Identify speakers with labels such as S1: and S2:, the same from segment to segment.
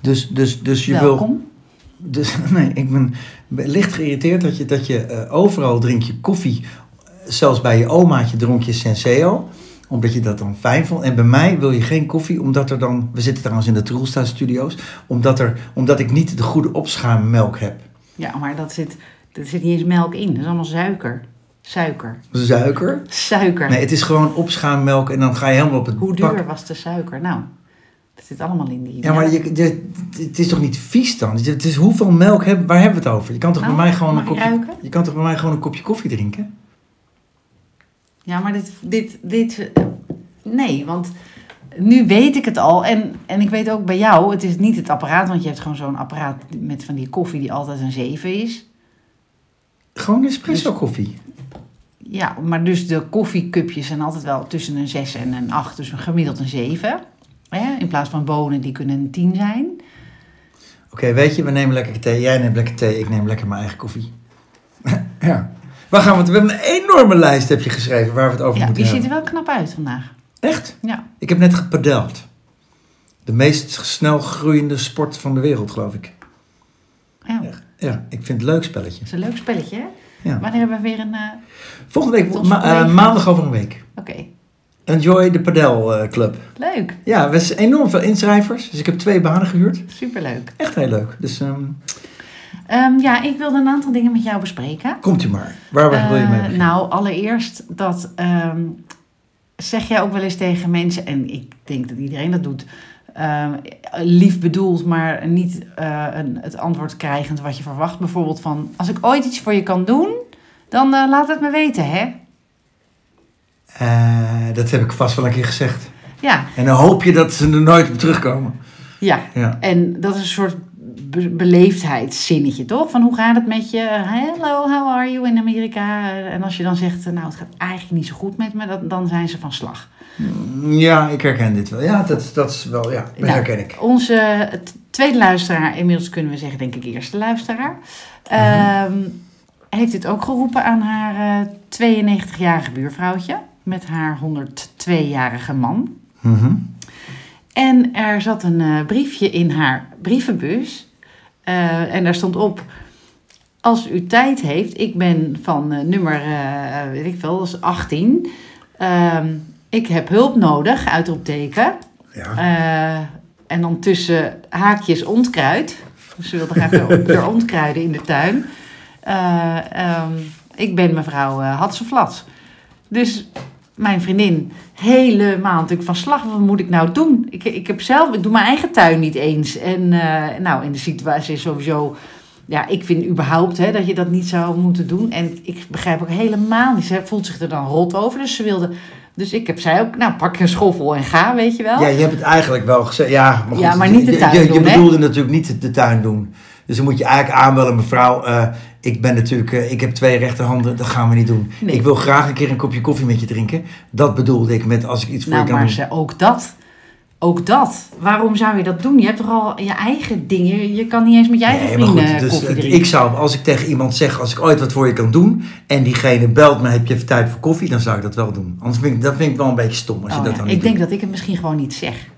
S1: Dus, dus, dus je wil...
S2: Welkom.
S1: Dus, nee, ik ben licht geïrriteerd dat je, dat je eh, overal drink je koffie. Zelfs bij je omaatje dronk je Senseo. Omdat je dat dan fijn vond. En bij mij wil je geen koffie, omdat er dan... We zitten trouwens in de Troelsta Studios. Omdat, er, omdat ik niet de goede opschaammelk heb.
S2: Ja, maar dat zit, dat zit niet eens melk in. Dat is allemaal suiker. Suiker.
S1: Suiker?
S2: Suiker.
S1: Nee, het is gewoon opschaammelk en dan ga je helemaal op het
S2: Hoe duur
S1: pak.
S2: was de suiker? Nou, dat zit allemaal in die...
S1: Ja, maar
S2: melk.
S1: je, je- het is toch niet vies dan? Het is hoeveel melk, heb, waar hebben we het over? Je kan toch,
S2: Nou,
S1: bij mij gewoon een
S2: mag ik
S1: kopje,
S2: ruiken?
S1: je kan toch bij mij gewoon een kopje koffie drinken?
S2: Ja, maar dit, dit, dit... Nee, want nu weet ik het al. En, en ik weet ook bij jou, het is niet het apparaat. Want je hebt gewoon zo'n apparaat met van die koffie die altijd een 7 is.
S1: Gewoon
S2: Dus-
S1: espresso koffie.
S2: Ja, maar dus de koffiecupjes zijn altijd wel tussen een 6 en een 8. Dus gemiddeld een 7. Hè? In plaats van bonen, die kunnen een 10 zijn.
S1: Oké, weet je, we nemen lekker thee. Jij neemt lekker thee, ik neem lekker mijn eigen koffie. ja. Waar gaan we het? We hebben een enorme lijst, heb je geschreven, waar we het over
S2: Ja,
S1: moeten
S2: die ziet er
S1: hebben.
S2: wel knap uit vandaag.
S1: Echt?
S2: Ja.
S1: Ik heb net gepadeld. De meest snel groeiende sport van de wereld, geloof ik.
S2: ja.
S1: Ja, ja ik vind het een leuk spelletje.
S2: Dat is een leuk spelletje, hè?
S1: Ja.
S2: Wanneer hebben we weer een... eh,
S1: Volgende week,
S2: Tot
S1: ma- eh,
S2: collega's.
S1: maandag over een week.
S2: Oké,
S1: Enjoy de padel eh, club.
S2: leuk.
S1: Ja, we zijn enorm veel inschrijvers. Dus ik heb twee banen gehuurd.
S2: Superleuk.
S1: Echt heel leuk. Dus ehm,
S2: Ehm, ja, ik wilde een aantal dingen met jou bespreken.
S1: komt u maar. Waar wil je mee
S2: Eh,
S1: beginnen?
S2: nou, allereerst dat... ehm, zeg jij ook wel eens tegen mensen... En ik denk dat iedereen dat doet... ehm, lief bedoeld, maar niet eh, een, het antwoord krijgend wat je verwacht. Bijvoorbeeld van, als ik ooit iets voor je kan doen... dan eh, laat het me weten, hè?
S1: Eh, dat heb ik vast wel een keer gezegd.
S2: Ja,
S1: En dan hoop je dat ze er nooit op terugkomen.
S2: ja.
S1: Ja.
S2: En dat is een soort be- beleefdheidszinnetje, toch? Van hoe gaat het met je? Hello, how are you in Amerika? En als je dan zegt, nou, het gaat eigenlijk niet zo goed met me, dat, dan zijn ze van slag.
S1: ja, ik herken dit wel. Ja, dat, dat is wel, ja, dat
S2: Nou,
S1: herken ik.
S2: Onze t- tweede luisteraar, inmiddels kunnen we zeggen, denk ik, eerste luisteraar,
S1: Mhm.
S2: ehm, heeft dit ook geroepen aan haar eh, 92-jarige buurvrouwtje met haar 102-jarige man.
S1: Mhm.
S2: En er zat een eh, briefje in haar brievenbus. Eh, en daar stond op: Als u tijd heeft, ik ben van eh, nummer, eh, weet ik veel, dat is 18. Ehm, ik heb hulp nodig, uitroepteken.
S1: Ja.
S2: Eh, en dan tussen haakjes ontkruid. Dus Ze wilde graag weer, weer ontkruiden in de tuin. Eh, ehm, ik ben mevrouw eh Hatseflats. Dus mijn vriendin, helemaal natuurlijk van slag. Wat moet ik nou doen? Ik, ik heb zelf, ik doe mijn eigen tuin niet eens. En eh, nou, in de situatie is sowieso... Ja, ik vind überhaupt hè, dat je dat niet zou moeten doen. En ik begrijp ook helemaal niet. Ze voelt zich er dan rot over. Dus ze wilde... Dus ik heb zij ook, nou pak een schoffel en ga, weet je wel.
S1: ja, je hebt het eigenlijk wel gezegd. Ja, maar, goed,
S2: Ja, maar niet de
S1: je-
S2: tuin
S1: je, je,
S2: doen, hè?
S1: bedoelde natuurlijk niet de, de tuin doen. Dus dan moet je eigenlijk aanbellen, mevrouw. eh, ik ben natuurlijk, eh, ik heb twee rechterhanden, dat gaan we niet doen.
S2: Nee.
S1: Ik wil graag een keer een kopje koffie met je drinken. Dat bedoelde ik met als ik iets voor
S2: Nou,
S1: je kan
S2: maar
S1: doen.
S2: ze, ook dat. Ook dat. Waarom zou je dat doen? Je hebt toch al je eigen dingen. Je- Je kan niet eens met je eigen
S1: maar
S2: vrienden
S1: dus
S2: koffie
S1: het-
S2: drinken.
S1: ik zou, als ik tegen iemand zeg, als ik ooit wat voor je kan doen, en diegene belt me, heb je even tijd voor koffie, dan zou ik dat wel doen. Anders vind ik, dat vind ik wel een beetje stom als
S2: Oh,
S1: je dat
S2: ja.
S1: dan
S2: ik
S1: niet
S2: denk
S1: doet.
S2: dat ik het misschien gewoon niet zeg.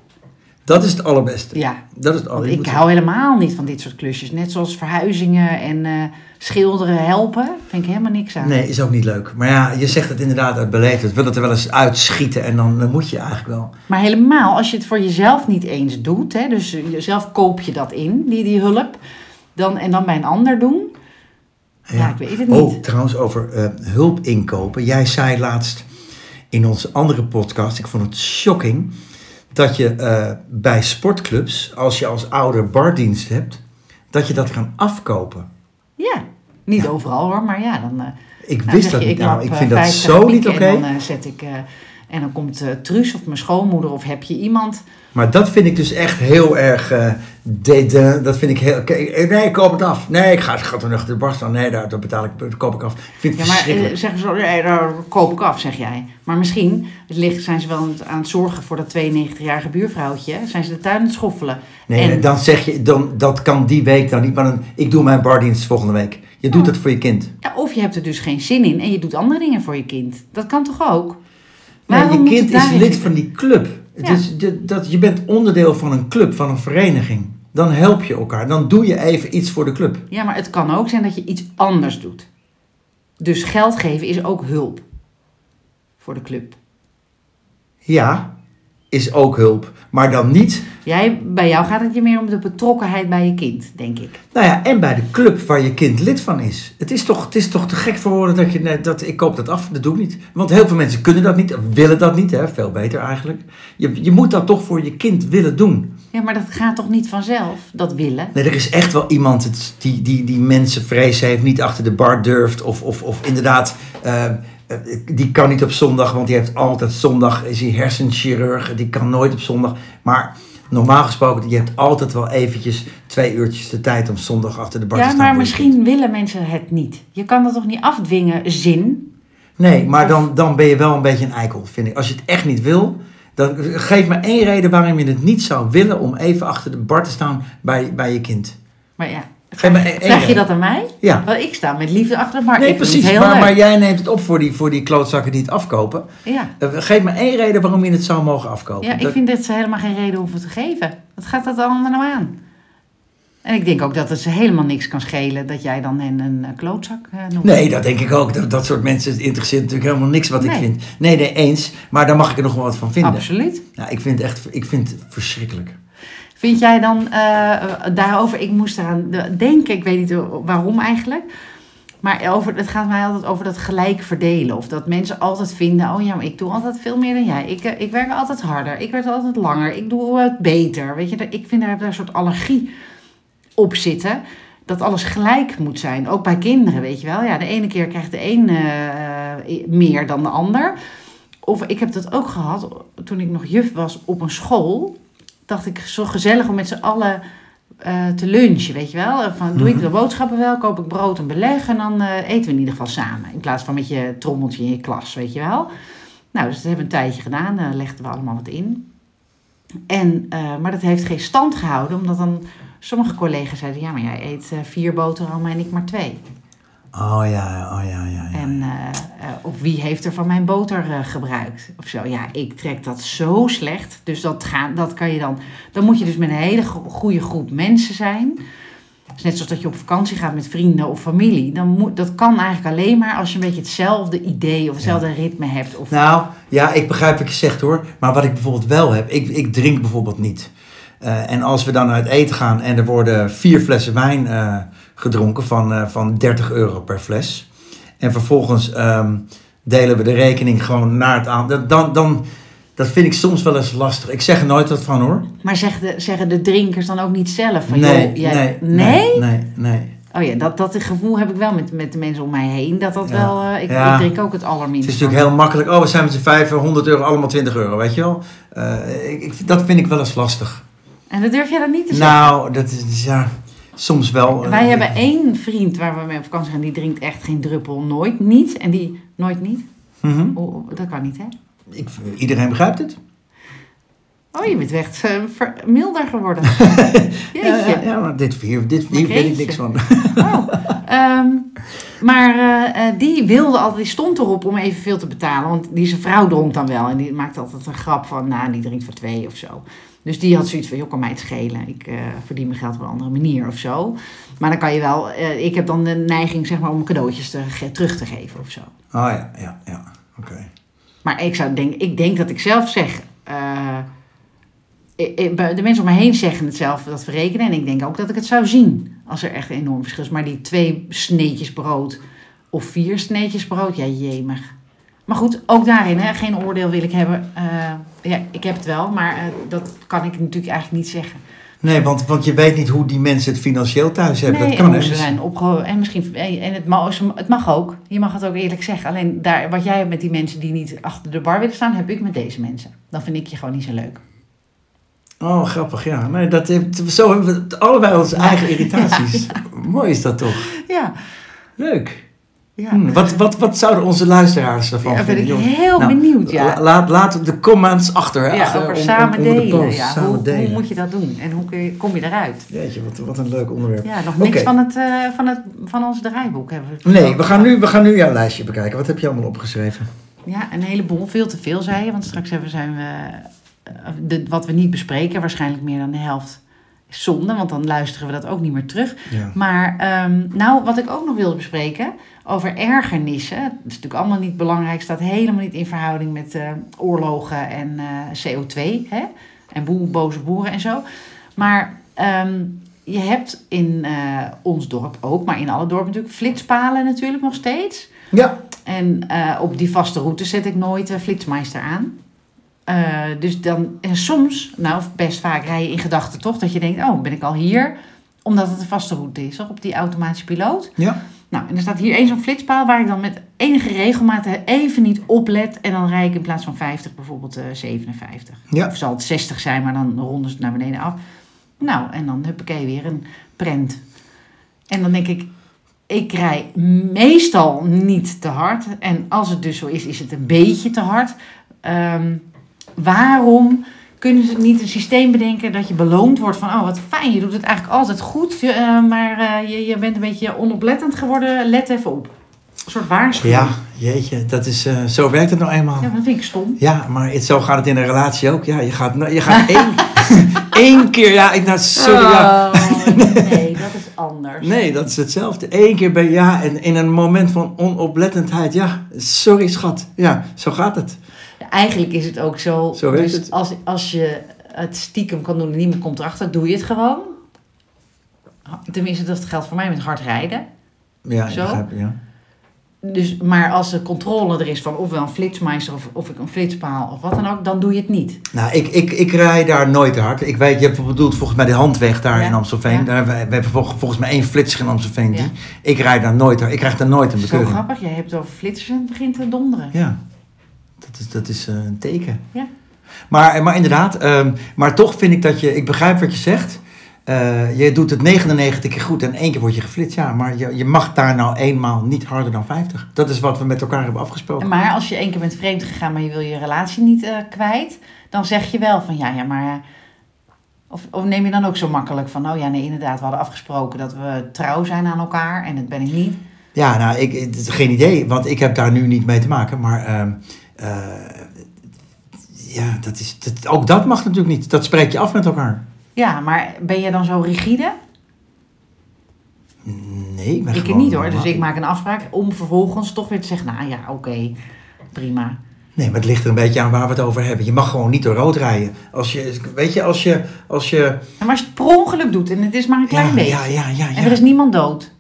S1: Dat is het allerbeste.
S2: Ja.
S1: Dat is het
S2: Want
S1: allerbeste.
S2: ik hou helemaal niet van dit soort klusjes. Net zoals verhuizingen en eh, schilderen, helpen. Vind ik helemaal niks aan.
S1: Nee, is ook niet leuk. Maar ja, je zegt het inderdaad uit beleefdheid. Wil het er wel eens uitschieten en dan, dan moet je eigenlijk wel.
S2: Maar helemaal, als je het voor jezelf niet eens doet, hè, dus jezelf koop je dat in, die, die hulp, dan, en dan bij een ander doen. Ja, ik weet het niet.
S1: Oh, trouwens, over eh, hulp inkopen. Jij zei laatst in onze andere podcast, ik vond het shocking, dat je eh, bij sportclubs, als je als ouder bardienst hebt, dat je dat kan afkopen.
S2: Ja, niet overal hoor, maar ja, dan. eh,
S1: Ik
S2: Nou,
S1: wist
S2: zeg
S1: dat
S2: je,
S1: niet.
S2: Ik,
S1: Nou,
S2: loop,
S1: ik
S2: eh,
S1: vind dat
S2: 50
S1: zo niet
S2: piek
S1: oké.
S2: En dan eh, zet ik. eh, en dan komt eh, Truus of mijn schoonmoeder of heb je iemand.
S1: Maar dat vind ik dus echt heel erg eh dédain. Dat vind ik heel... oké, eh, nee, ik koop het af. Nee, ik ga, ik ga toch nog de barst aan. Nee, daar, dat betaal ik, dat koop ik af. Ik vind
S2: Ja,
S1: het
S2: maar
S1: verschrikkelijk.
S2: eh, zeggen ze, nee, daar koop ik af, zeg jij. Maar misschien ligt, zijn ze wel aan het- aan het zorgen voor dat 92-jarige buurvrouwtje. Zijn ze de tuin aan het schoffelen.
S1: Nee,
S2: en-
S1: dan zeg je, dan, dat kan die week dan niet. Maar dan, ik doe mijn bardienst volgende week. Je
S2: Oh.
S1: doet dat voor je kind.
S2: Ja, of je hebt er dus geen zin in en je doet andere dingen voor je kind. Dat kan toch ook?
S1: Nee,
S2: Waarom
S1: je
S2: moet
S1: kind
S2: het
S1: is
S2: daarin
S1: lid
S2: zitten?
S1: van die club. Het
S2: Ja.
S1: is, de- dat, je bent onderdeel van een club, van een vereniging. Dan help je elkaar. Dan doe je even iets voor de club.
S2: Ja, maar het kan ook zijn dat je iets anders doet. Dus geld geven is ook hulp voor de club.
S1: Ja, is ook hulp. Maar dan niet.
S2: Jij, bij jou gaat het je meer om de betrokkenheid bij je kind, denk ik.
S1: Nou ja, en bij de club waar je kind lid van is. Het is toch, het is toch te gek voor woorden dat je. nee, Dat, ik koop dat af, dat doe ik niet. Want heel veel mensen kunnen dat niet, willen dat niet, hè? veel beter eigenlijk. Je, je moet dat toch voor je kind willen doen.
S2: Ja, maar dat gaat toch niet vanzelf, dat willen?
S1: Nee, er is echt wel iemand het- die, die, die mensenvrees heeft, niet achter de bar durft. Of, of, of inderdaad, eh, eh, die kan niet op zondag, want die heeft altijd zondag, is hij hersenchirurg, die kan nooit op zondag. Maar normaal gesproken, je hebt altijd wel eventjes twee uurtjes de tijd om zondag achter de bar te
S2: Ja,
S1: staan.
S2: maar
S1: voor je nou kind.
S2: misschien willen mensen het niet. Je kan dat toch niet afdwingen, zin?
S1: Nee, maar dan, dan ben je wel een beetje een eikel, vind ik. Als je het echt niet wil, dan geef me één reden waarom je het niet zou willen om even achter de bar te staan bij, bij je kind.
S2: Maar ja,
S1: Geef me één
S2: vraag je
S1: reden.
S2: dat aan mij?
S1: Ja.
S2: Want ik sta met liefde achter de markt.
S1: Nee,
S2: Ik vind
S1: precies.
S2: het heel
S1: Maar, maar
S2: leuk.
S1: jij neemt het op voor die, voor die klootzakken die het afkopen.
S2: Ja,
S1: Eh, Geef me één reden waarom je het zou mogen afkopen.
S2: ja ik
S1: Dat-
S2: vind dat ze helemaal geen reden hoeven te geven. Wat gaat dat allemaal nou aan? En ik denk ook dat het ze helemaal niks kan schelen dat jij dan hen een eh, klootzak eh, noemt.
S1: Nee, dat denk ik ook. Dat, dat soort mensen het interesseert natuurlijk helemaal niks wat ik
S2: Nee.
S1: vind. Nee, nee, eens. Maar daar mag ik er nog wel wat van vinden.
S2: Absoluut.
S1: Nou, ik vind het echt ik vind het verschrikkelijk.
S2: Vind jij dan eh, daarover, ik moest eraan denken, ik weet niet waarom eigenlijk. Maar over, het gaat mij altijd over dat gelijk verdelen. Of dat mensen altijd vinden, oh ja, maar ik doe altijd veel meer dan jij. Ik, eh, ik werk altijd harder, ik werk altijd langer, ik doe het beter. Weet je, daar- ik vind daar, heb daar een soort allergie op zitten. Dat alles gelijk moet zijn, ook bij kinderen, weet je wel. Ja, de ene keer krijgt de een eh, eh, meer dan de ander. Of ik heb dat ook gehad toen ik nog juf was op een school. Dacht ik zo gezellig om met z'n allen eh, te lunchen, weet je wel. Eh, Van, doe ik de boodschappen wel, koop ik brood en beleg en dan eh, eten we in ieder geval samen. In plaats van met je trommeltje in je klas, weet je wel. Nou, dus dat hebben we een tijdje gedaan, daar legden we allemaal wat in. En, eh, maar dat heeft geen stand gehouden, omdat dan sommige collega's zeiden... ja, maar jij eet eh, vier boterhammen en ik maar twee.
S1: Oh ja, oh ja, ja. ja.
S2: En eh, eh, of wie heeft er van mijn boter eh, gebruikt? Of zo. Ja, ik trek dat zo slecht. Dus dat, ga, dat kan je dan. Dan moet je dus met een hele go- goede groep mensen zijn. Het is net zoals dat je op vakantie gaat met vrienden of familie. Dan moet, dat kan eigenlijk alleen maar als je een beetje hetzelfde idee of hetzelfde ritme hebt. Of,
S1: Nou, ja, ik begrijp wat je zegt hoor. Maar wat ik bijvoorbeeld wel heb, ik, ik drink bijvoorbeeld niet. Eh, en als we dan uit eten gaan en er worden vier flessen wijn eh, gedronken van, eh, van 30 euro per fles. En vervolgens ehm, delen we de rekening gewoon naar het aan. Dat- Dan, dan, dat vind ik soms wel eens lastig. Ik zeg er nooit wat van hoor.
S2: Maar zeg de, zeggen de drinkers dan ook niet zelf van joh, jij,
S1: nee, nee, nee.
S2: Oh ja, dat, dat gevoel heb ik wel met, met de mensen om mij heen. Dat dat
S1: Ja.
S2: wel. eh, ik,
S1: Ja.
S2: ik drink ook het allerminst.
S1: Het is natuurlijk heel makkelijk. Oh, we zijn met z'n vijf, 100 euro, allemaal 20 euro, weet je wel. Eh, ik, ik, dat vind ik wel eens lastig.
S2: En dat durf jij dan niet te zeggen.
S1: Nou, dat is ja, soms wel. eh,
S2: Wij hebben één vriend waar we mee op vakantie gaan, die drinkt echt geen druppel, nooit niet. En die nooit niet.
S1: Mhm.
S2: Oh, oh, dat kan niet, hè?
S1: Ik, iedereen begrijpt het.
S2: Oh, je bent echt eh, ver- milder geworden.
S1: Ja, ja,
S2: Jeetje.
S1: ja, maar dit, hier, dit,
S2: Maar
S1: hier weet ik
S2: jeetje.
S1: niks van.
S2: Oh. Ehm, maar eh, eh, die wilde altijd, die stond erop om evenveel te betalen. Want die zijn vrouw dronk dan wel. En die maakte altijd een grap van, nou, die drinkt voor twee of zo. Dus die had zoiets van, joh, kan mij het schelen. Ik eh, verdien mijn geld op een andere manier of zo. Maar dan kan je wel, eh, ik heb dan de neiging, zeg maar, om cadeautjes te, ge- terug te geven of zo.
S1: Oh ja, ja, ja. Oké.
S2: Maar ik, zou denk, ik denk dat ik zelf zeg. eh, ik- ik- de mensen om me heen zeggen het zelf dat we rekenen. En ik denk ook dat ik het zou zien als er echt een enorm verschil is. Maar die twee sneetjes brood of vier sneetjes brood, ja, jemig. Maar goed, ook daarin, hè, geen oordeel wil ik hebben. Eh, ja, ik heb het wel, maar eh, dat kan ik natuurlijk eigenlijk niet zeggen.
S1: Nee, want, want je weet niet hoe die mensen het financieel thuis hebben.
S2: nee,
S1: dat kan dus.
S2: en hoe
S1: hè.
S2: ze zijn opge- En, misschien, eh, en het, mag, het mag ook. Je mag het ook eerlijk zeggen. Alleen daar, wat jij hebt met die mensen die niet achter de bar willen staan, heb ik met deze mensen. Dan vind ik je gewoon niet zo leuk.
S1: Oh, grappig, ja. Nee, dat, heeft- zo hebben we het- allebei onze eigen irritaties. Mooi is dat toch?
S2: Ja,
S1: Leuk.
S2: ja.
S1: Hm, wat, wat, wat zouden onze luisteraars ervan
S2: Ja, ben
S1: vinden?
S2: ik
S1: jongens?
S2: heel benieuwd, ja.
S1: la- laat, laat de comments achter. Hè, eh,
S2: ja
S1: achter,
S2: over
S1: on- on-
S2: samen
S1: onder de
S2: delen.
S1: post.
S2: ja.
S1: Samen
S2: hoe, hoe
S1: delen.
S2: moet je dat doen en hoe kun je, kom je eruit?
S1: Jeetje, wat, wat een leuk onderwerp.
S2: Ja, nog niks
S1: Oké.
S2: van, het, eh, van, het, van ons draaiboek hebben we.
S1: Nee, we gaan, nu, we gaan nu jouw lijstje bekijken. Wat heb je allemaal opgeschreven?
S2: Ja, een heleboel, veel te veel zei je, want straks hebben, zijn we eh, de, wat we niet bespreken, waarschijnlijk meer dan de helft, Zonde, want dan luisteren we dat ook niet meer terug.
S1: Ja.
S2: Maar ehm, nou, wat ik ook nog wilde bespreken over ergernissen. Dat is natuurlijk allemaal niet belangrijk. Staat helemaal niet in verhouding met eh, oorlogen en eh, CO2. Hè? En boe, boze boeren en zo. Maar ehm, je hebt in eh, ons dorp ook, maar in alle dorpen natuurlijk, flitspalen natuurlijk nog steeds.
S1: ja.
S2: En eh, op die vaste route zet ik nooit eh, flitsmeister aan. Eh, dus dan, en soms, nou of best vaak rij je in gedachten toch, dat je denkt, oh ben ik al hier? Omdat het een vaste route is, toch? Op die automatische piloot.
S1: Ja.
S2: Nou, en er staat hier één zo'n flitspaal waar ik dan met enige regelmaat even niet oplet. En dan rijd ik in plaats van 50 bijvoorbeeld eh, 57.
S1: Ja.
S2: Of zal het 60 zijn, maar dan ronden ze het naar beneden af. Nou, en dan huppakee weer een prent. En dan denk ik, ik rij meestal niet te hard. En als het dus zo is, is het een beetje te hard. Ehm, waarom kunnen ze niet een systeem bedenken dat je beloond wordt van... oh, wat fijn, je doet het eigenlijk altijd goed, je, eh, maar eh, je, je bent een beetje onoplettend geworden. Let even op. Een soort waarschuwing.
S1: ja, jeetje, dat is, eh, zo werkt het nou eenmaal.
S2: Ja,
S1: Ja,
S2: dat vind ik stom.
S1: maar het, zo gaat het in een relatie ook. Ja, je gaat, nou- je gaat één, één keer, ja, ik, nou, sorry, ja.
S2: Oh, nee, dat is anders.
S1: Nee, dat is hetzelfde. Eén keer ben ja en in een moment van onoplettendheid, ja, sorry schat. Ja, zo gaat het.
S2: Ja, Eigenlijk is het ook zo.
S1: Zo werkt
S2: dus
S1: het.
S2: Als, als je het stiekem kan doen en niemand komt erachter, doe je het gewoon. Tenminste, dat geldt voor mij met hard rijden.
S1: Ja, ik
S2: Zo?
S1: begrijp, ja.
S2: Dus, maar als de controle er is van ofwel een flitsmeister of, of ik een flitspaal of wat dan ook, dan doe je het niet.
S1: Nou, ik, ik, ik rij daar nooit te hard. Ik weet, je hebt bedoeld volgens mij de handweg daar
S2: Ja,
S1: in Amstelveen.
S2: ja.
S1: Daar hebben we, we hebben vol- volgens mij één flitser in Amstelveen.
S2: Ja.
S1: Die, ik rij daar nooit hard. Ik krijg daar nooit een
S2: Zo
S1: bekeuring.
S2: grappig, jij hebt het over flitsers en het begint te donderen.
S1: Ja, dat is, dat is eh, een teken.
S2: Ja.
S1: Maar, maar inderdaad, ehm, maar toch vind ik dat je, ik begrijp wat je zegt. Eh, je doet het 99 keer goed en één keer word je geflitst. Ja, maar je, je mag daar nou eenmaal niet harder dan 50. Dat is wat we met elkaar hebben afgesproken.
S2: En Maar als je één keer bent vreemd gegaan, maar je wil je relatie niet eh, kwijt, dan zeg je wel van ja, ja, maar. eh, Of, of neem je dan ook zo makkelijk van, nou ja, nee, inderdaad, we hadden afgesproken dat we trouw zijn aan elkaar en dat ben ik niet.
S1: Ja, nou, ik, het is geen idee, want ik heb daar nu niet mee te maken. Maar ehm, eh, ja, dat is, dat, ook dat mag natuurlijk niet. Dat spreek je af met elkaar.
S2: Ja, maar ben je dan zo rigide?
S1: Nee, ik ben
S2: Ik
S1: gewoon
S2: niet hoor, dus
S1: normaal.
S2: ik maak een afspraak om vervolgens toch weer te zeggen, nou ja, oké, prima.
S1: Nee, maar het ligt er een beetje aan waar we het over hebben. Je mag gewoon niet door rood rijden. Als je, weet je, als je... Als je
S2: En maar als je het per ongeluk doet en het is maar een klein
S1: ja,
S2: beetje
S1: ja, ja, ja,
S2: en er
S1: ja.
S2: is niemand dood.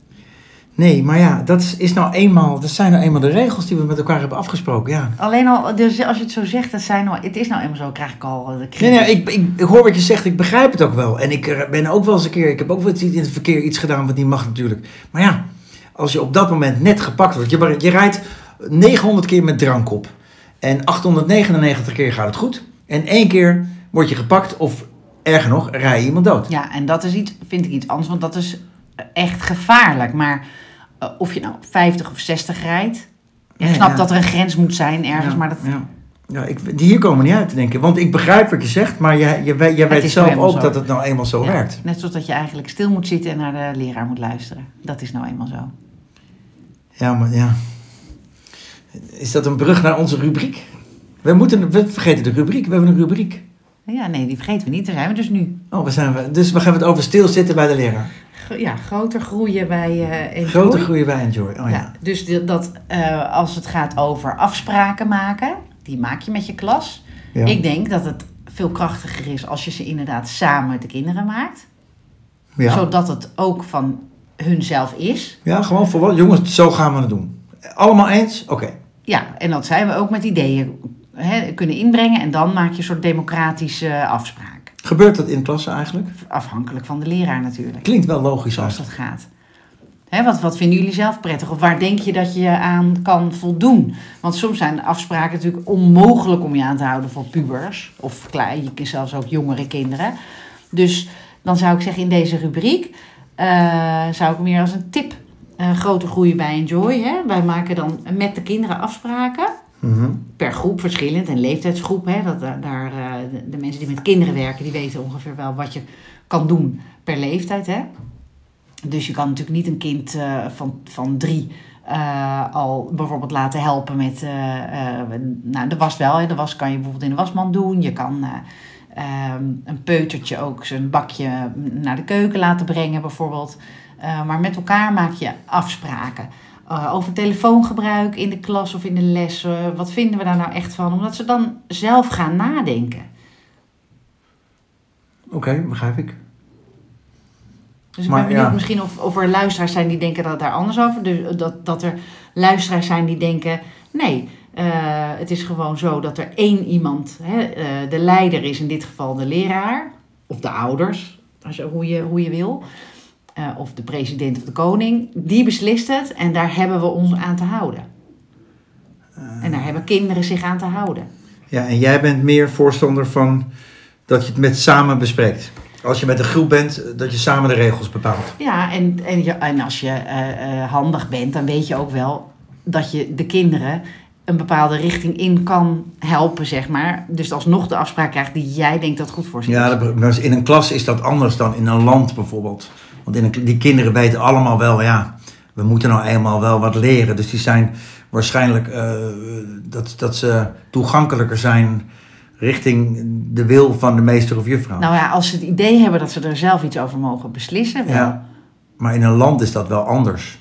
S1: Nee, maar ja, dat, is- is nou eenmaal, dat zijn nou eenmaal de regels die we met elkaar hebben afgesproken, ja.
S2: Alleen al, dus als je het zo zegt, dat zijn al, het is nou eenmaal zo, krijg ik al eh, de
S1: Nee,
S2: kriebel.
S1: nee, ik, ik, ik hoor wat je zegt, ik begrijp het ook wel. En ik eh, ben ook wel eens een keer, ik heb ook wel eens in het verkeer iets gedaan wat niet mag natuurlijk. Maar ja, als je op dat moment net gepakt wordt, je, je rijdt 900 keer met drank op. En 899 keer gaat het goed. En één keer word je gepakt of erger nog, rij je iemand dood.
S2: Ja, en dat is iets, vind ik iets anders, want dat is echt gevaarlijk. Maar eh, of je nou 50 of 60 rijdt, ja, ik
S1: Nee,
S2: snap
S1: ja.
S2: dat er een grens moet zijn ergens, maar dat,
S1: Ja. Ja, ik, die hier komen we niet uit te denken. Want ik begrijp wat je zegt, maar je, je, weet- je weet
S2: is
S1: zelf
S2: helemaal
S1: ook
S2: zo.
S1: dat het nou eenmaal zo
S2: ja,
S1: werkt.
S2: net zoals dat je eigenlijk stil moet zitten en naar de leraar moet luisteren. Dat is nou eenmaal zo.
S1: Ja, maar ja. Is dat een brug naar onze rubriek? We, moeten, we vergeten de rubriek. We hebben een rubriek.
S2: Nou Ja, nee, die vergeten we niet. Daar zijn we dus nu.
S1: Oh, waar zijn we? Dus we gaan het over stilzitten bij de leraar.
S2: Gro- Ja, groter groeien bij eh Enjoy.
S1: Grote groei bij Enjoy. Oh ja.
S2: Ja, dus de- dat eh, als het gaat over afspraken maken, die maak je met je klas.
S1: Ja.
S2: Ik denk dat het veel krachtiger is als je ze inderdaad samen met de kinderen maakt.
S1: Ja.
S2: Zodat het ook van hunzelf is.
S1: Ja, gewoon voor wat? Jongens, zo gaan we het doen. Allemaal eens? Oké.
S2: Ja, en dat zijn we ook met ideeën hè, kunnen inbrengen. En dan maak je een soort democratische eh, afspraak.
S1: Gebeurt dat in de klasse eigenlijk?
S2: Afhankelijk van de leraar natuurlijk,
S1: Klinkt wel logisch
S2: zoals
S1: als.
S2: dat gaat. Hè, wat, wat vinden jullie zelf prettig? Of waar denk je dat je aan kan voldoen? Want soms zijn afspraken natuurlijk onmogelijk om je aan te houden voor pubers. Of klein, je- zelfs ook jongere kinderen. Dus dan zou ik zeggen in deze rubriek... eh, zou ik meer als een tip... eh, grote groei bij Enjoy. Hè? Wij maken dan met de kinderen afspraken.
S1: Mhm.
S2: per groep verschillend en leeftijdsgroep. Hè, dat, daar, daar, eh, de, de mensen die met kinderen werken, die weten ongeveer wel wat je kan doen per leeftijd. Hè. Dus je kan natuurlijk niet een kind eh, van, van drie eh, al bijvoorbeeld laten helpen met... eh, eh, nou, de was wel. Hè. De was kan je bijvoorbeeld in de wasmand doen. Je kan eh, ehm, een peutertje ook zijn bakje mm, naar de keuken laten brengen, bijvoorbeeld. Eh, maar met elkaar maak je afspraken. Eh, over telefoongebruik in de klas of in de lessen. Wat vinden we daar nou echt van? Omdat ze dan zelf gaan nadenken.
S1: Oké, begrijp ik.
S2: Dus ik
S1: Maar
S2: ben benieuwd
S1: ja.
S2: misschien of, of er luisteraars zijn die denken dat het daar anders over. Dus dat, dat er luisteraars zijn die denken, nee, eh, het is gewoon zo dat er één iemand, hè, eh, de leider is in dit geval de leraar, of de ouders, als je, hoe, je, hoe je wil, eh, of de president of de koning, die beslist het en daar hebben we ons aan te houden.
S1: Eh.
S2: En daar hebben kinderen zich aan te houden.
S1: Ja, en jij bent meer voorstander van dat je het met samen bespreekt. Als je met een groep bent, eh, dat je samen de regels bepaalt.
S2: Ja, en, en, ja, en als je eh, eh, handig bent, dan weet je ook wel dat je de kinderen een bepaalde richting in kan helpen, zeg maar. Dus alsnog de afspraak krijgt die jij denkt dat goed voor ze
S1: Ja,
S2: is.
S1: dat be- maar in een klas is dat anders dan in een land bijvoorbeeld. Want in een, die kinderen weten allemaal wel, ja, we moeten nou eenmaal wel wat leren. Dus die zijn waarschijnlijk eh, dat, dat ze toegankelijker zijn richting de wil van de meester of juffrouw.
S2: Nou ja, als ze het idee hebben dat ze er zelf iets over mogen beslissen, wel.
S1: ja, maar in een land is dat wel anders.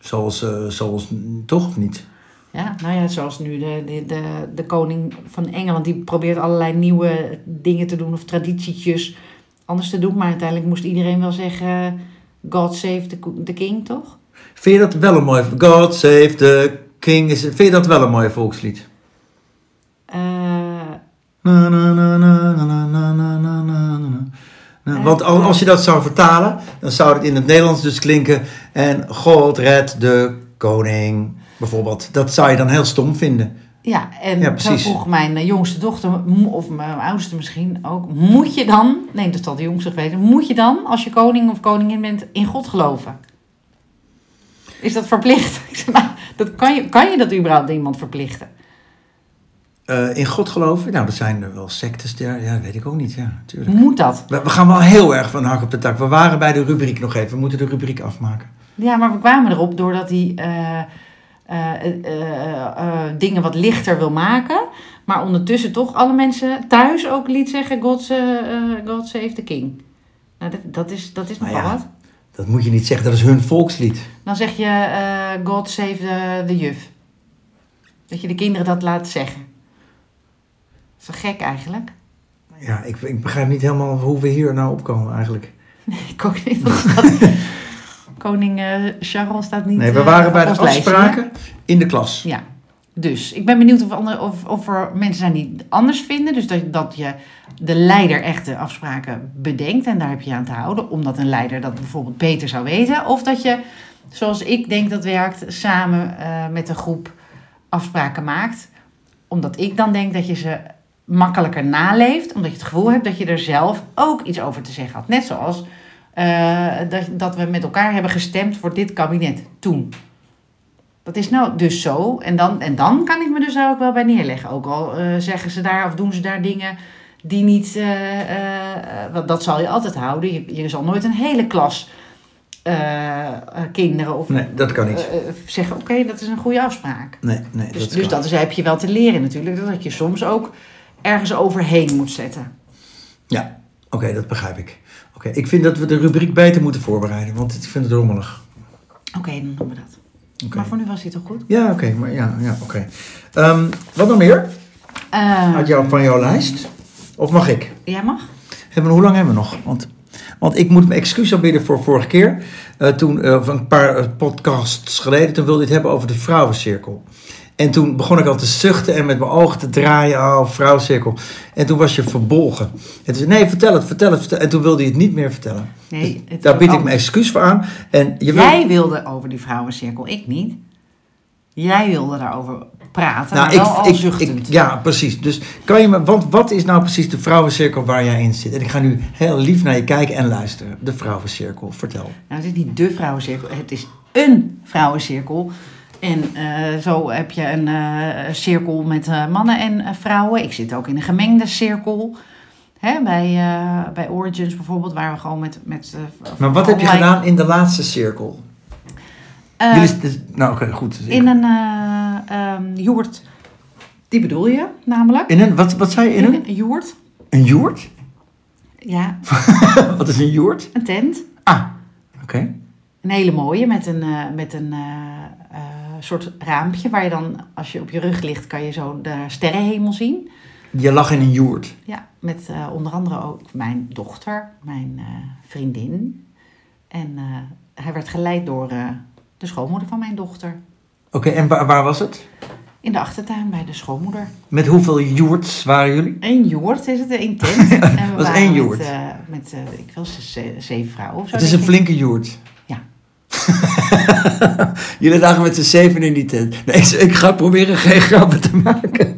S1: Zoals, eh, zoals toch of niet?
S2: Ja, nou ja, zoals nu de, de, de, de koning van Engeland, die probeert allerlei nieuwe dingen te doen of traditietjes anders te doen. Maar uiteindelijk moest iedereen wel zeggen, God save the, the king, toch?
S1: Vind je dat wel een mooi... God save the king. Is, vind je dat wel een mooi volkslied?
S2: Eh,
S1: Na, na, na, na, na, na, na, na, na, na, na. Nou, Want al- als je dat zou vertalen, dan zou het in het Nederlands dus klinken... En God red de koning, bijvoorbeeld. Dat zou je dan heel stom vinden.
S2: Ja, en
S1: Ja,
S2: zo
S1: precies.
S2: vroeg mijn eh, jongste dochter, mo- of mijn oudste misschien ook, moet je dan, nee dat zal de jongste weten, moet je dan als je koning of koningin bent in God geloven? Is dat verplicht? Ik zeg, nou, dat kan, je, kan je dat überhaupt iemand verplichten?
S1: Eh, in God geloven? Nou, dat zijn er wel sectes. Ja, ja, weet ik ook niet. Ja, natuurlijk.
S2: Moet dat?
S1: We, we gaan wel heel erg van hak op de tak. We waren bij de rubriek nog even. We moeten de rubriek afmaken.
S2: Ja, maar we kwamen erop doordat hij eh, eh, eh, eh, dingen wat lichter wil maken. Maar ondertussen toch alle mensen thuis ook liet zeggen, God, eh, eh, God save the king. Nou, dat, dat is, dat is
S1: Nou
S2: nogal
S1: ja.
S2: wat.
S1: Dat moet je niet zeggen, dat is hun volkslied.
S2: Dan zeg je eh, God save the, the juf. Dat je de kinderen dat laat zeggen. Dat is toch gek eigenlijk?
S1: Ja, ik, ik begrijp niet helemaal hoe we hier nou opkomen eigenlijk.
S2: Ik ook niet. want er staat- Koning eh, Charles staat niet
S1: Nee, we
S2: eh,
S1: waren
S2: op
S1: bij de
S2: ons lijstje, hè?
S1: afspraken in de klas.
S2: Ja, dus ik ben benieuwd of, andere, of, of er mensen zijn die het anders vinden. Dus dat, dat je de leider echt de afspraken bedenkt en daar heb je je aan te houden. Omdat een leider dat bijvoorbeeld beter zou weten. Of dat je, zoals ik denk dat werkt, samen eh, met een groep afspraken maakt. Omdat ik dan denk dat je ze makkelijker naleeft. Omdat je het gevoel hebt dat je er zelf ook iets over te zeggen had. Net zoals eh, dat, dat we met elkaar hebben gestemd voor dit kabinet toen. Dat is nou dus zo. En dan, en dan kan ik me dus daar ook wel bij neerleggen. Ook al eh, zeggen ze daar of doen ze daar dingen die niet. eh, eh, eh, want dat zal je altijd houden. Je, je zal nooit een hele klas eh, eh, kinderen of
S1: Nee, dat kan niet.
S2: eh, eh, zeggen: oké, dat is een goede afspraak.
S1: Nee, nee,
S2: Dus,
S1: dat
S2: dus
S1: kan.
S2: dat is, heb je wel te leren natuurlijk. Dat je soms ook ergens overheen moet zetten.
S1: Ja, oké, dat begrijp ik. Oké, ik vind dat we de rubriek beter moeten voorbereiden, want ik vind het rommelig.
S2: Oké, dan doen we dat.
S1: Oké.
S2: Maar voor nu was dit toch goed?
S1: Ja, oké, maar ja, ja, oké. Ehm, wat nog meer
S2: Eh,
S1: uit jou, van jouw lijst? Of mag ik?
S2: jij mag?
S1: Hebben we, hoe lang hebben we nog? Want, want ik moet me excuus aanbieden voor vorige keer. Eh, toen, eh, of een paar eh, podcasts geleden, toen wilde ik het hebben over de vrouwencirkel. En toen begon ik al te zuchten en met mijn ogen te draaien. Oh, vrouwencirkel. En toen was je verbolgen. En toen zei nee, vertel het, vertel het, vertel. En toen wilde je het niet meer vertellen. Dus
S2: Nee, het
S1: Daar
S2: is
S1: bied ik me
S2: anders.
S1: excuus voor aan. En je wil-
S2: Jij wilde over die vrouwencirkel, ik niet. Jij wilde daarover praten,
S1: Nou,
S2: maar wel al zuchtend.
S1: ja, precies. Dus kan je me, want wat is nou precies de vrouwencirkel waar jij in zit? En ik ga nu heel lief naar je kijken en luisteren. De vrouwencirkel, vertel.
S2: Nou, het is niet de vrouwencirkel, het is een vrouwencirkel. En eh, zo heb je een eh, cirkel met eh, mannen en eh, vrouwen. Ik zit ook in een gemengde cirkel. Hè, bij, eh, bij Origins bijvoorbeeld, waar we gewoon met... met eh,
S1: Maar wat heb je
S2: allerlei-
S1: gedaan in de laatste cirkel?
S2: Eh,
S1: Jullie, dus- nou, oké, goed. Dus ik-
S2: in een eh ehm joert. Die bedoel je namelijk?
S1: in een, wat, wat zei je in een?
S2: joert.
S1: Een joert?
S2: Ja,
S1: Wat is een joert?
S2: een tent.
S1: Ah, oké.
S2: Een hele mooie met een, eh, met een eh, eh, soort raampje waar je dan, als je op je rug ligt, kan je zo de sterrenhemel zien.
S1: Je lag in een joert.
S2: Ja, met eh, onder andere ook mijn dochter, mijn eh, vriendin. En eh, hij werd geleid door eh, de schoonmoeder van mijn dochter.
S1: Oké, en waar, waar was het?
S2: In de achtertuin bij de schoonmoeder.
S1: Met hoeveel joerts waren jullie?
S2: Eén joert is het, één tent. En we
S1: was
S2: waren
S1: één
S2: met,
S1: joert.
S2: eh, Met, eh, ik wil ze- zeven vrouwen of zo.
S1: Het is een
S2: denk ik.
S1: flinke joert.
S2: Ja.
S1: jullie lagen met z'n zeven in die tent. Nee, ik- ik ga proberen geen grappen te maken.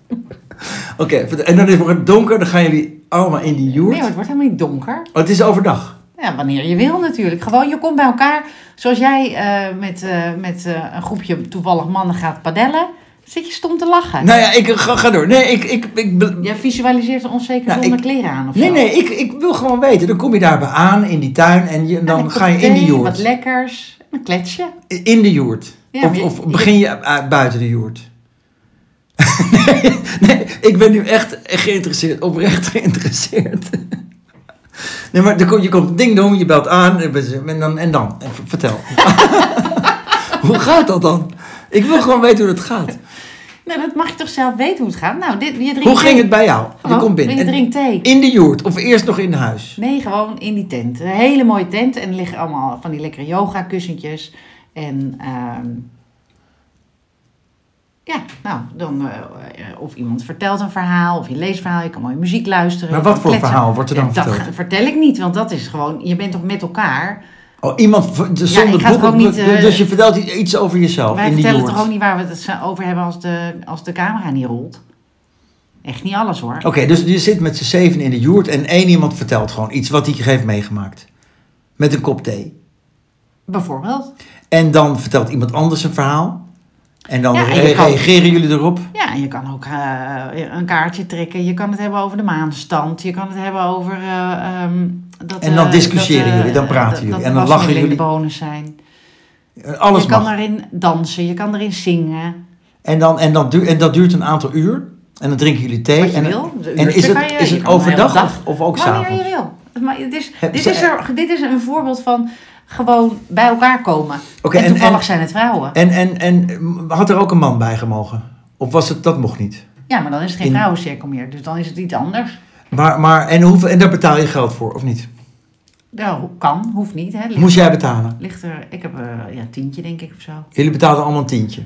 S1: oké, en dan is het wordt donker, dan gaan jullie allemaal in die joert.
S2: Nee hoor, het wordt helemaal niet donker.
S1: Oh, het is overdag.
S2: Ja, wanneer je wil natuurlijk. Gewoon, je komt bij elkaar. Zoals jij eh, met, eh, met eh, een groepje toevallig mannen gaat padellen, zit je stom te lachen.
S1: Nou ja, ik ga, ga door. Nee, ik, ik, ik, be-
S2: Jij visualiseert ons zeker
S1: Nou,
S2: zonder
S1: ik-
S2: kleren aan of
S1: nee,
S2: zo.
S1: nee ik, ik wil gewoon weten. Dan kom je daarbij aan in die tuin en je, dan
S2: een
S1: ga je
S2: kopje
S1: in die
S2: thee, Wat
S1: joert.
S2: lekkers. En Een kletsje.
S1: In de joert.
S2: Ja,
S1: of,
S2: maar
S1: of
S2: je-
S1: begin je eh, buiten de joert. nee, nee, ik ben nu echt geïnteresseerd, oprecht geïnteresseerd. Nee, maar dan kom, je komt ding dong, je belt aan en dan, en dan Even vertel. hoe gaat dat dan? Ik wil gewoon weten hoe dat gaat.
S2: Nou, dat mag je toch zelf weten hoe het gaat. Nou, dit, je drinkt
S1: Hoe ging
S2: thee.
S1: het bij jou? Je
S2: Oh,
S1: komt binnen.
S2: Je
S1: En
S2: drinkt thee.
S1: In de joert of eerst nog in huis?
S2: Nee, gewoon in die tent. Een hele mooie tent. En er liggen allemaal van die lekkere yoga kussentjes. En ehm, ja, nou, dan eh, eh, of iemand vertelt een verhaal of je leest een verhaal. Je kan mooie muziek luisteren.
S1: Maar
S2: je
S1: wat
S2: kan
S1: voor
S2: kletsen.
S1: verhaal wordt er dan
S2: Ja, dat
S1: verteld?
S2: ga- vertel ik niet, want dat is gewoon, je bent toch met elkaar.
S1: Oh, iemand v- dus
S2: Ja,
S1: zonder
S2: ik ga het
S1: boek.
S2: ook niet,
S1: dus-
S2: eh,
S1: dus je vertelt i- iets over jezelf
S2: Wij
S1: in die
S2: vertellen
S1: joert.
S2: toch ook niet waar we het zo- over hebben als de, als de camera niet rolt. Echt niet alles hoor.
S1: Oké, dus je zit met z'n zeven in de joert en één iemand vertelt gewoon iets wat hij heeft meegemaakt. Met een kop thee.
S2: Bijvoorbeeld.
S1: En dan vertelt iemand anders een verhaal. En dan
S2: Ja, en je
S1: re-
S2: kan-
S1: reageren jullie erop.
S2: Ja, en je kan ook eh, een kaartje trekken. Je kan het hebben over de maanstand. Je kan het hebben over... eh, ehm, dat,
S1: En dan
S2: eh,
S1: discussiëren
S2: dat, eh,
S1: jullie, dan praten
S2: dat-
S1: jullie.
S2: Dat
S1: En dan
S2: de
S1: lachen
S2: wasmiddelen
S1: jullie.
S2: de bonus zijn.
S1: Eh, Alles
S2: je kan
S1: mag.
S2: erin dansen, je kan erin zingen.
S1: En, dan, en, dan duur, en dat duurt een aantal uur. En dan drinken jullie thee.
S2: Wat je
S1: en
S2: wil. De
S1: en is
S2: uurtje
S1: het,
S2: kan je-
S1: is
S2: je
S1: het
S2: kan de hele
S1: overdag
S2: dag.
S1: of, of ook
S2: Wanneer
S1: s'avonds?
S2: je wil. Maar dit is,
S1: Heb-
S2: dit,
S1: ze-
S2: is er, dit is een voorbeeld van gewoon bij elkaar komen.
S1: Oké,
S2: en
S1: en-
S2: toevallig
S1: en-
S2: zijn het vrouwen.
S1: En, en, en mm, had er ook een man bij gemogen? Of was het, dat mocht niet?
S2: ja, maar dan is het geen
S1: in-
S2: vrouwencirkel meer. Dus dan is het iets anders.
S1: Maar, maar en, hoeveel, en daar betaal je geld voor, of niet?
S2: Ja, ho- kan, hoeft niet. Hè. Ligt,
S1: Moest jij betalen?
S2: ligt er, ik heb eh, ja, tientje denk ik of zo.
S1: Jullie betaalden allemaal een tientje.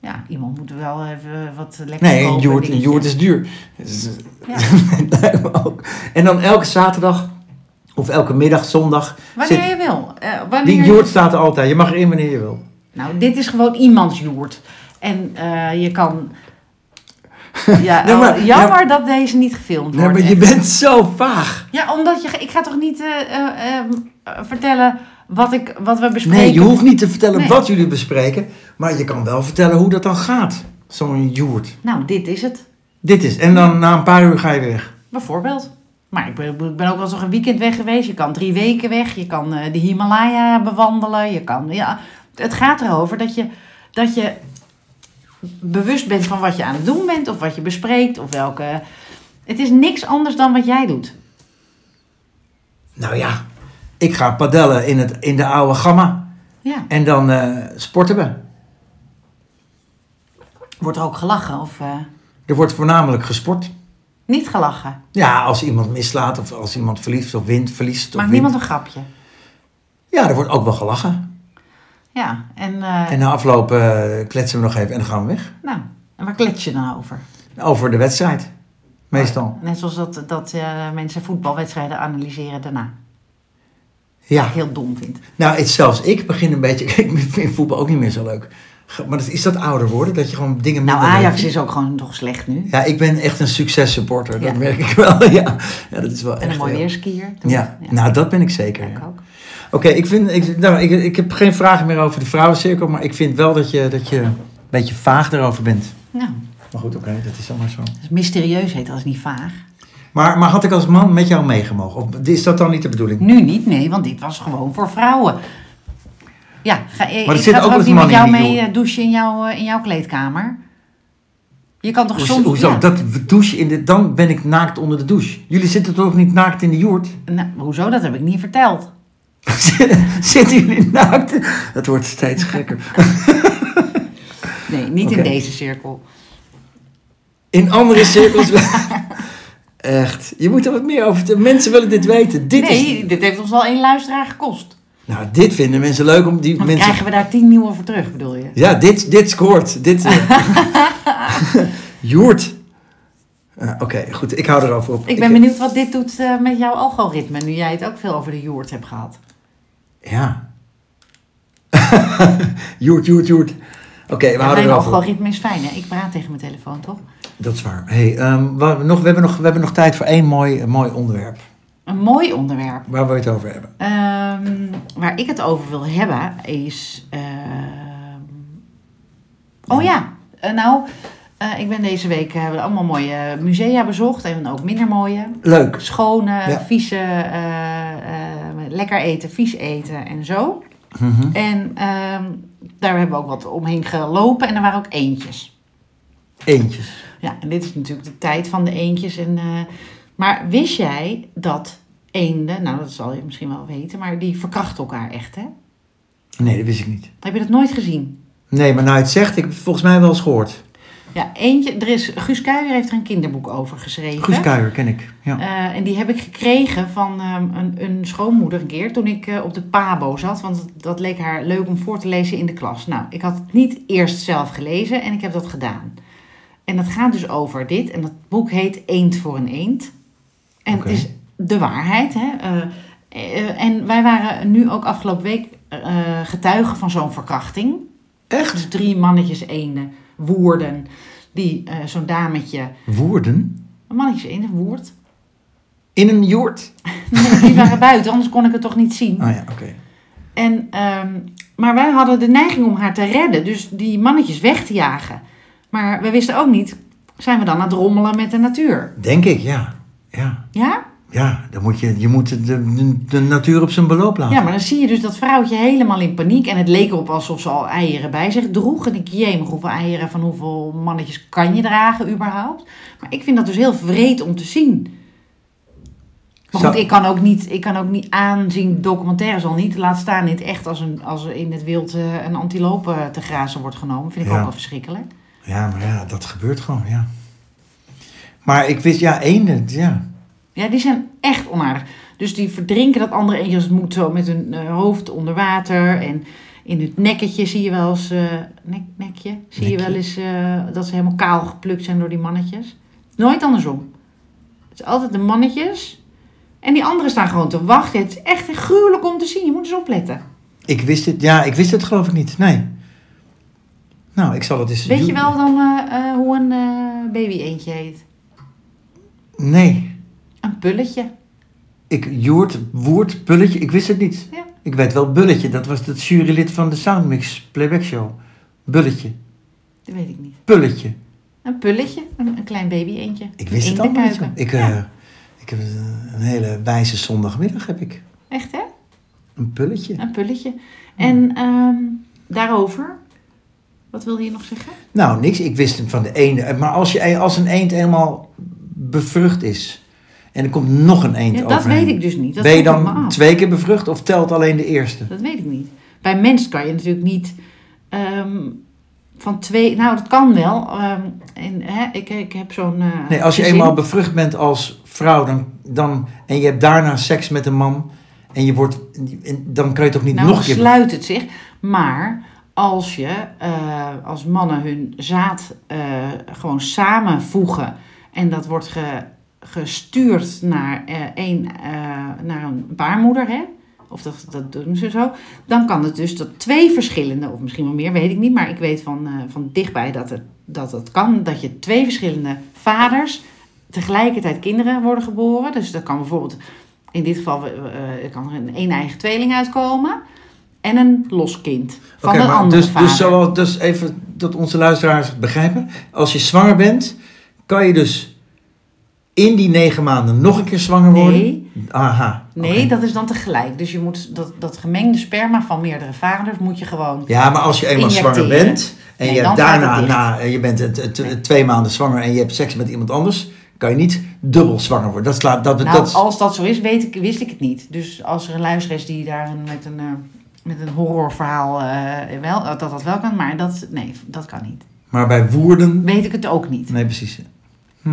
S2: Ja, iemand moet wel even wat lekker
S1: Nee, een
S2: kopen,
S1: joert, een
S2: dingetje.
S1: joert is duur. Dus, eh,
S2: Ja.
S1: lijkt me ook. En dan elke zaterdag of elke middag, zondag.
S2: Wanneer je wil. Eh, wanneer
S1: die
S2: je-
S1: joert staat er altijd. Je mag erin wanneer je wil.
S2: Nou, dit is gewoon iemands joert. En eh, je kan... Ja,
S1: Nee, maar-
S2: oh, jammer dat deze niet gefilmd
S1: Nee,
S2: wordt.
S1: maar je
S2: echt.
S1: bent zo vaag.
S2: Ja, omdat je... Ik ga toch niet eh, eh, eh, eh, vertellen wat, ik, wat we bespreken?
S1: Nee, je hoeft niet te vertellen
S2: Nee.
S1: wat jullie bespreken. Maar je kan wel vertellen hoe dat dan gaat. Zo'n joert.
S2: Nou, dit is het.
S1: Dit is. En dan na een paar uur ga je weg.
S2: Bijvoorbeeld. Maar ik ben, ik ben ook wel eens nog een weekend weg geweest. Je kan drie weken weg. Je kan eh, de Himalaya bewandelen. Je kan, ja, het gaat erover dat je, dat je bewust bent van wat je aan het doen bent. Of wat je bespreekt. Of welke... Het is niks anders dan wat jij doet.
S1: Nou ja, ik ga padellen in, het, in de oude gamma.
S2: Ja.
S1: En dan eh, sporten we.
S2: Wordt er ook gelachen of eh,
S1: Er wordt voornamelijk gesport.
S2: niet gelachen.
S1: Ja, als iemand mislaat of als iemand verliest of wint, verliest of
S2: Maakt
S1: wint.
S2: niemand een grapje.
S1: Ja, er wordt ook wel gelachen.
S2: Ja. En, eh,
S1: En na afloop eh, kletsen we nog even en dan gaan we weg.
S2: nou, en waar klets je dan over?
S1: Over de wedstrijd. Meestal.
S2: Net zoals dat, dat eh, mensen voetbalwedstrijden analyseren daarna.
S1: Ja.
S2: Wat ik heel dom vind.
S1: Nou, het, zelfs ik begin een beetje... Ik vind voetbal ook niet meer zo leuk. Ge- Maar dat, is dat ouder worden? Dat Oh, je gewoon dingen
S2: Nou,
S1: minder leuk
S2: Ajax
S1: vindt?
S2: is ook gewoon toch slecht nu.
S1: Ja, ik ben echt een successupporter. Dat
S2: Ja.
S1: merk ik wel. Ja, ja dat is wel
S2: En
S1: echt
S2: een mooi
S1: heel-
S2: weerskier.
S1: Ja. nou dat ben ik zeker.
S2: ik
S1: ja.
S2: ook.
S1: Oké, ik, vind, ik, nou, ik, ik heb geen vragen meer over de vrouwencirkel, maar ik vind wel dat je, dat je een beetje vaag daarover bent.
S2: Nou,
S1: Maar goed, oké, dat is dan maar zo.
S2: dat is mysterieus heet, dat is niet vaag.
S1: Maar, maar had ik als man met jou meegemogen? Of is dat dan niet de bedoeling?
S2: Nu niet, nee, want dit was gewoon voor vrouwen. Ja, ga,
S1: er
S2: ik
S1: zitten
S2: ga
S1: ook
S2: toch
S1: wel
S2: ook
S1: eens
S2: niet met
S1: mannen
S2: jou
S1: in die
S2: mee
S1: joer.
S2: eh, douchen in jouw, eh, in jouw kleedkamer. Je kan toch
S1: Hoezo?
S2: soms...
S1: hoezo?
S2: ja.
S1: Dat douche in de, dan ben ik naakt onder de douche. Jullie zitten toch niet naakt in de joert?
S2: Nou, hoezo? Dat heb ik niet verteld.
S1: zitten jullie naakt? Het wordt steeds gekker.
S2: Nee, niet in
S1: Oké.
S2: deze cirkel.
S1: In andere cirkels. Echt. Je moet er wat meer over. vertellen. Mensen willen dit weten. Dit
S2: nee,
S1: is.
S2: dit heeft ons al één luisteraar gekost.
S1: Nou, dit vinden mensen leuk om die
S2: Dan
S1: mensen.
S2: krijgen we daar tien nieuwe voor terug, bedoel je?
S1: Ja, dit, dit scoort. Dit. eh. Joert. Ah, Oké, goed. Ik hou erover op.
S2: Ik ben benieuwd wat dit doet eh, met jouw algoritme, nu jij het ook veel over de Joert hebt gehad.
S1: Ja. Joert, Joert, Joert. Oké, we
S2: Ja,
S1: houden
S2: mijn
S1: erover op.
S2: algoritme is fijn, hè? Ik praat tegen mijn telefoon, toch?
S1: Dat is waar. Hey, ehm, we, hebben nog, we, hebben nog, we hebben nog tijd voor één mooi, eh, mooi onderwerp.
S2: Een mooi onderwerp.
S1: Waar wil je het over hebben?
S2: Ehm, waar ik het over wil hebben is. ehm, Oh ja, eh, nou, eh, ik ben deze week. hebben we allemaal mooie musea bezocht en ook minder mooie.
S1: Leuk.
S2: Schone,
S1: Ja.
S2: vieze, eh, eh, lekker eten, vies eten en zo.
S1: Mhm.
S2: En ehm, daar hebben we ook wat omheen gelopen en er waren ook eentjes.
S1: Eentjes.
S2: Ja, en dit is natuurlijk de tijd van de eendjes. En, eh, maar wist jij dat eenden, nou dat zal je misschien wel weten, maar die verkrachten elkaar echt, hè?
S1: Nee, dat wist ik niet.
S2: Heb je dat nooit gezien?
S1: Nee, maar nou je het zegt, ik heb het volgens mij wel eens gehoord.
S2: Ja, eentje, er is, Guus Kuijer heeft er een kinderboek over geschreven.
S1: Guus Kuijer ken ik. Ja.
S2: Eh, en die heb ik gekregen van ehm, een, een schoonmoeder een keer toen ik eh, op de PABO zat. Want dat leek haar leuk om voor te lezen in de klas. Nou, ik had het niet eerst zelf gelezen en ik heb dat gedaan. En dat gaat dus over dit. En dat boek heet Eend voor een Eend. En
S1: Oké.
S2: het is de waarheid. Hè? Eh, eh, en wij waren nu ook afgelopen week eh, getuigen van zo'n verkrachting.
S1: Echt?
S2: Dus drie mannetjes eenden, woerden, die eh, zo'n dametje...
S1: Woerden?
S2: Een mannetje eend, een woerd.
S1: In een joert?
S2: Nee, die waren buiten, anders kon ik het toch niet zien.
S1: Ah ja, oké.
S2: En, ehm, maar wij hadden de neiging om haar te redden, dus die mannetjes weg te jagen. Maar we wisten ook niet, zijn we dan aan het rommelen met de natuur?
S1: Denk ik, ja. Ja,
S2: Ja?
S1: ja dan moet je, je moet de, de, de natuur op zijn beloop laten.
S2: Ja, maar dan zie je dus dat vrouwtje helemaal in paniek. En het leek erop alsof ze al eieren bij zich droeg. En ik, jemig, hoeveel eieren van hoeveel mannetjes kan je dragen überhaupt? Maar ik vind dat dus heel vreed om te zien. Maar goed,
S1: Zou-
S2: ik kan, ook niet, ik kan ook niet aanzien documentaires al niet. Laat staan in het echt als, een, als er in het wild eh, een antilope te grazen wordt genomen. Vind ik
S1: Ja.
S2: ook wel verschrikkelijk.
S1: Ja, maar ja, dat gebeurt gewoon, ja. Maar ik wist, ja, eenden, ja.
S2: Ja, die zijn echt onaardig. Dus die verdrinken dat andere eentje. Dus het moet zo met hun eh, hoofd onder water. En in het nekketje zie je wel eens... eh, nek, nekje? Zie je
S1: Nekje.
S2: wel eens eh, dat ze helemaal kaal geplukt zijn door die mannetjes. Nooit andersom. Het is altijd de mannetjes. En die anderen staan gewoon te wachten. Het is echt gruwelijk om te zien. Je moet eens opletten.
S1: Ik wist het, ja, ik wist het geloof ik niet, nee. Nou, ik zal het eens
S2: Weet je
S1: doen.
S2: wel dan eh, eh, hoe een eh, baby eentje heet?
S1: Nee,
S2: Een pulletje.
S1: ik, Joert, Woert, Bulletje, ik wist het niet.
S2: Ja.
S1: Ik weet wel Bulletje, dat was het jurylid van de Soundmix Playback Show. Bulletje,
S2: Dat weet ik niet.
S1: Pulletje.
S2: Een pulletje. Een, een klein baby eentje.
S1: Ik wist het allemaal niet.
S2: Eendenkuiken.
S1: joh. Ik,
S2: Ja,
S1: eh, ik heb eh, een hele wijze zondagmiddag, heb ik.
S2: echt hè?
S1: Een pulletje.
S2: Een pulletje. En ehm, daarover, wat wilde je nog zeggen?
S1: Nou, niks. Ik wist het van de ene. Maar als, je, als een eend eenmaal bevrucht is en er komt nog een eend
S2: Ja,
S1: over.
S2: dat weet ik dus niet. Dat
S1: ben je
S2: komt op me
S1: dan
S2: af.
S1: twee keer bevrucht of telt alleen de eerste?
S2: Dat weet ik niet. Bij mens kan je natuurlijk niet ehm, van twee... Nou, dat kan wel. ehm, en, hè, ik, ik heb zo'n... eh,
S1: Nee, als je
S2: gezin.
S1: eenmaal bevrucht bent als vrouw dan, dan, en je hebt daarna seks met een man en je wordt, en dan kan je toch niet
S2: nou,
S1: nog een keer...
S2: sluit het zich. Maar als je, eh, als mannen hun zaad eh, gewoon samenvoegen en dat wordt ge- gestuurd naar, eh een, eh, naar een baarmoeder, hè? of dat, dat doen ze zo, dan kan het dus dat twee verschillende, of misschien wel meer, weet ik niet, maar ik weet van, eh, van dichtbij dat het, dat het kan, dat je twee verschillende vaders tegelijkertijd kinderen worden geboren. Dus dat kan bijvoorbeeld, in dit geval, eh, eh, er kan er een een-eigen tweeling uitkomen en een los kind van
S1: Oké,
S2: een
S1: maar
S2: andere
S1: dus,
S2: vader.
S1: dus, zoals, dus even dat onze luisteraars het begrijpen. Als je zwanger bent, kan je dus in die negen maanden nog een keer zwanger worden.
S2: Nee.
S1: Aha.
S2: Nee,
S1: oké.
S2: dat is dan tegelijk. Dus je moet dat, dat gemengde sperma van meerdere vaders moet je gewoon.
S1: Ja, maar als je eenmaal zwanger
S2: Injecteren.
S1: bent en
S2: Nee,
S1: je, hebt
S2: dan gaat
S1: daarna,
S2: het dicht.
S1: na, je bent eh, t- t- twee maanden zwanger en je hebt seks met iemand anders, kan je niet dubbel zwanger worden. Dat slaat, dat,
S2: Nou,
S1: dat,
S2: als dat zo is, weet ik, wist ik het niet. Dus als er een luister is die daar een- met een, eh, met een horrorverhaal eh, wel, dat dat wel kan, maar dat, nee, dat kan niet.
S1: maar bij woerden,
S2: Weet ik het ook niet.
S1: nee precies. Hm.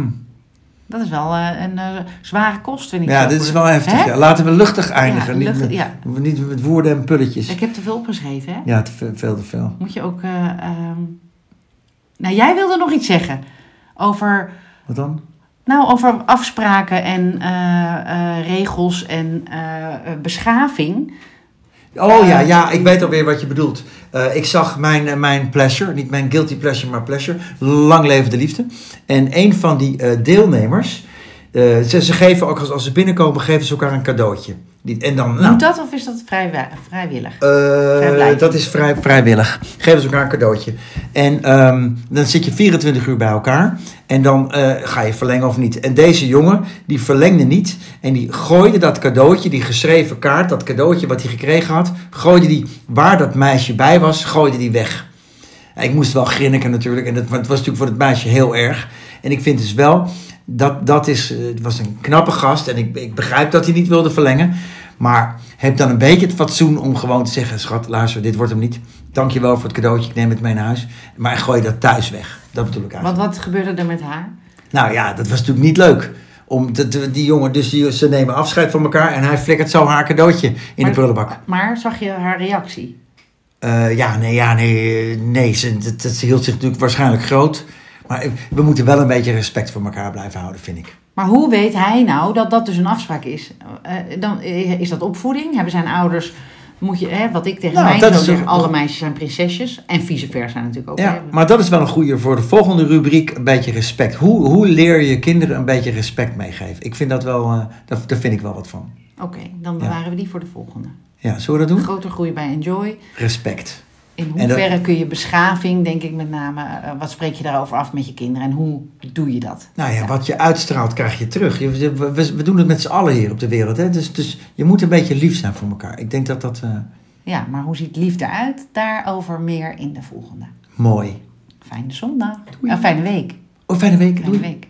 S2: Dat is wel eh, een eh, zware kost, vind ik.
S1: Ja,
S2: zo
S1: dit
S2: voor-
S1: is wel heftig.
S2: Hè?
S1: ja. Laten we luchtig eindigen.
S2: Ja, luchtig,
S1: niet, met,
S2: ja.
S1: niet met woorden en pulletjes.
S2: Ik heb te veel opgeschreven, hè?
S1: Ja, te veel, veel te veel.
S2: Moet je ook. eh, ehm, Nou, jij wilde nog iets zeggen over.
S1: Wat dan?
S2: Nou, over afspraken en eh, eh, regels en eh, eh, beschaving.
S1: Oh ja, ja, ik weet alweer wat je bedoelt. Eh, ik zag mijn, eh, mijn pleasure, niet mijn guilty pleasure, maar pleasure. Lang leven de liefde. En een van die eh, deelnemers, eh, ze, ze geven ook als, als ze binnenkomen, geven ze elkaar een cadeautje. Die- En dan, nou,
S2: Moet dat of is dat vrijwa- vrijwillig?
S1: eh,
S2: Vrijblijvend.
S1: dat is vrij, vrijwillig. Geven ze elkaar een cadeautje. En ehm, dan zit je 24 uur bij elkaar. En dan eh, ga je verlengen of niet. En deze jongen, die verlengde niet. En die gooide dat cadeautje, die geschreven kaart, dat cadeautje wat hij gekregen had. Gooide die waar dat meisje bij was, gooide die weg. En Ik moest wel grinniken natuurlijk. En dat, maar het was natuurlijk voor het meisje heel erg. En ik vind dus wel, dat, dat is, eh, het was een knappe gast. En ik, ik begrijp dat hij niet wilde verlengen. Maar heb dan een beetje het fatsoen om gewoon te zeggen... schat, luister, dit wordt hem niet. Dank je wel voor het cadeautje, ik neem het mee naar huis. Maar gooi dat thuis weg. Dat bedoel ik
S2: Wat,
S1: eigenlijk.
S2: wat gebeurde er met haar?
S1: Nou ja, dat was natuurlijk niet leuk. Om te- te- die jongen, dus die, ze nemen afscheid van elkaar... en hij flikkert zo haar cadeautje in
S2: Maar-
S1: de prullenbak.
S2: Maar zag je haar reactie?
S1: Eh, ja, nee, ja, nee, eh, nee ze, dat, dat- ze hield zich natuurlijk waarschijnlijk groot. Maar eh, we moeten wel een beetje respect voor elkaar blijven houden, vind ik.
S2: Maar hoe weet hij nou dat dat dus een afspraak is? Eh, dan, eh, is dat opvoeding? Hebben zijn ouders... Moet je, hè, wat ik tegen
S1: Nou,
S2: mijn
S1: dat
S2: zoon
S1: is een-
S2: zeg, alle meisjes zijn prinsesjes. En vice versa natuurlijk ook.
S1: Ja,
S2: hè.
S1: maar dat is wel een goede voor de volgende rubriek, een beetje respect. Hoe, hoe leer je kinderen een beetje respect meegeven? Ik vind dat wel, eh, daar, daar vind ik wel wat van.
S2: Oké, dan bewaren we die voor de volgende.
S1: Ja, zullen we dat doen?
S2: Groter groei bij Enjoy.
S1: Respect.
S2: In
S1: En dat-
S2: hoeverre kun je beschaving, denk ik met name, eh, wat spreek je daarover af met je kinderen en hoe doe je dat?
S1: Nou ja, wat je uitstraalt krijg je terug. Je- je- We, we doen het met z'n allen hier op de wereld. Hè? Dus, dus je moet een beetje lief zijn voor elkaar. Ik denk dat dat eh,
S2: Ja, maar hoe ziet liefde uit? Daarover meer in de volgende.
S1: mooi.
S2: Fijne zondag. Een fijne week.
S1: Oh, fijne week.
S2: Fijne
S1: Doei.
S2: week.